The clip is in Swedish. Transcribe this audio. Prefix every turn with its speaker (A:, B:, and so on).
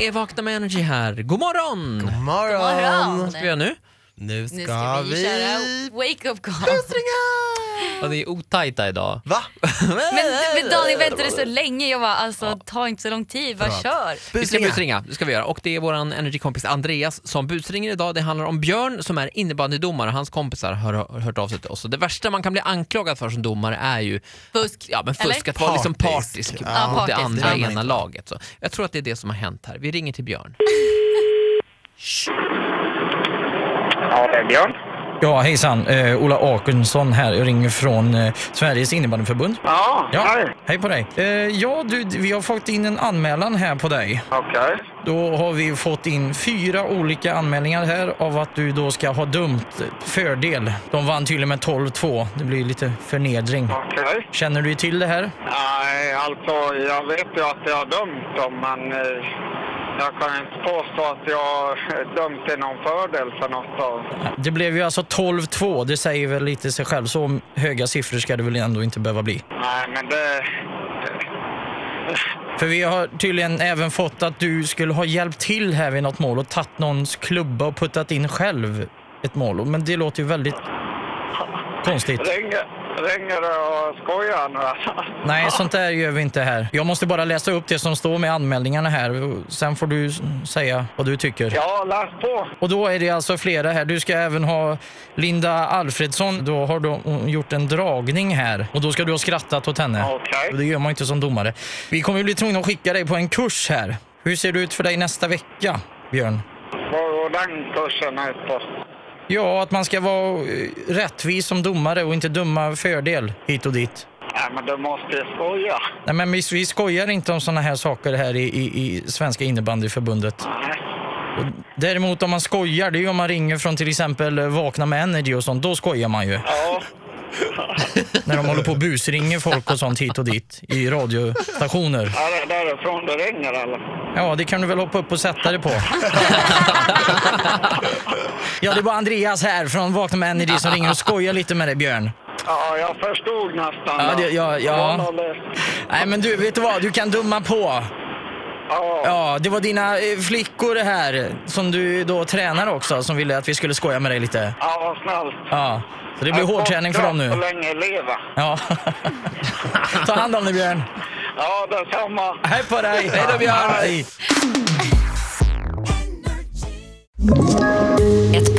A: är Vakna med Energy här. God morgon!
B: God
A: Vad
B: morgon!
C: morgon.
A: ska vi göra nu?
B: Nu ska,
C: Nu ska vi köra wake up call.
B: Ringa!
A: Ja, det är otajta idag.
B: Va?
C: Men, men Daniel väntade så länge. Jag bara alltså ta inte så lång tid, bara
B: Bra.
C: kör.
A: Vi ska
B: Busringa.
A: busringa, det ska vi göra. Och det är vår energikompis Andreas som busringer idag. Det handlar om Björn som är innebandydomare och hans kompisar har har hört av sig till oss. Och det värsta man kan bli anklagad för som domare är ju
C: Fusk.
A: ja, men fusk,
C: Eller?
A: att vara liksom
B: Partisk.
A: partisk mot
B: Ja,
A: det
C: partisk.
A: andra
B: Det är man
A: ena
B: inte.
A: laget. Så jag tror att det är det som har hänt här. Vi ringer till Björn.
D: Ja, det är Björn.
E: Ja, hejsan. Eh, Ola Akensson här. Jag ringer från eh, Sveriges innebandyförbund.
D: Ja,
E: Ja,
D: hej.
E: hej på dig. Eh, ja, du, vi har fått in en anmälan här på dig.
D: Okej.
E: Då har vi fått in fyra olika anmälningar här av att du då ska ha dömt fördel. De vann tydligen med 12-2. Det blir lite förnedring.
D: Okej.
E: Känner du till det här?
D: Nej, alltså jag vet ju att jag har dömt dem, men eh, jag kan inte påstå att jag eh, dömt till någon fördel för något av
E: Det blev ju alltså 12-2. Det säger väl lite sig själv. Så höga siffror ska det väl ändå inte behöva bli.
D: Nej, men det...
E: För vi har tydligen även fått att du skulle ha hjälpt till här vid något mål och tagit någons klubba och puttat in själv ett mål. Men det låter ju väldigt konstigt.
D: Ringer, ringer du och skojar nu alltså?
E: Nej, sånt där gör vi inte här. Jag måste bara läsa upp det som står med anmälningarna här. och Sen får du s- säga vad du tycker.
D: Ja, läs på.
E: Och då är det alltså flera här. Du ska även ha Linda Alfredsson. Då har då hon gjort en dragning här och då ska du ha skrattat åt henne.
D: Okej.
E: Och Det gör man inte som domare. Vi kommer ju bli tvungna att skicka dig på en kurs här. Hur ser det ut för dig nästa vecka, Björn?
D: Vad går den kursen ut på?
E: Ja, att man ska vara eh, rättvis som domare och inte döma fördel hit och dit.
D: Nej, men du måste ju skoja.
E: Nej, men vi, vi skojar inte om sådana här saker här i, i, i Svenska innebandyförbundet.
D: Nej.
E: Och däremot om man skojar, det är ju om man ringer från till exempel eh, Vakna med Energy och sånt. Då skojar man ju.
D: Ja.
E: När de håller på och busringer folk och sånt hit och dit i radiostationer.
D: Är det därifrån du ringer eller?
E: Ja, det kan du väl hoppa upp och sätta dig på. Ja, det var Andreas här från Vakna med Energy som ringer och skojar lite med dig, Björn.
D: Ja, jag förstod nästan.
E: Ja, det- ja, ja.
D: Det var något-
E: Nej, men du, vet du vad? Du kan dumma på.
D: Ja.
E: Ja, det var dina eh, flickor här som du då tränar också som ville att vi skulle skoja med dig lite.
D: Ja, vad snällt.
E: Ja, så det blir
D: Jag
E: hårdträning för dem
D: hoppas
E: nu.
D: Så länge leva.
E: Ja. Ta hand om dig, Björn.
D: Ja, detsamma.
E: Hej på dig!
A: Hej då, Björn.
E: Hej.
F: Ett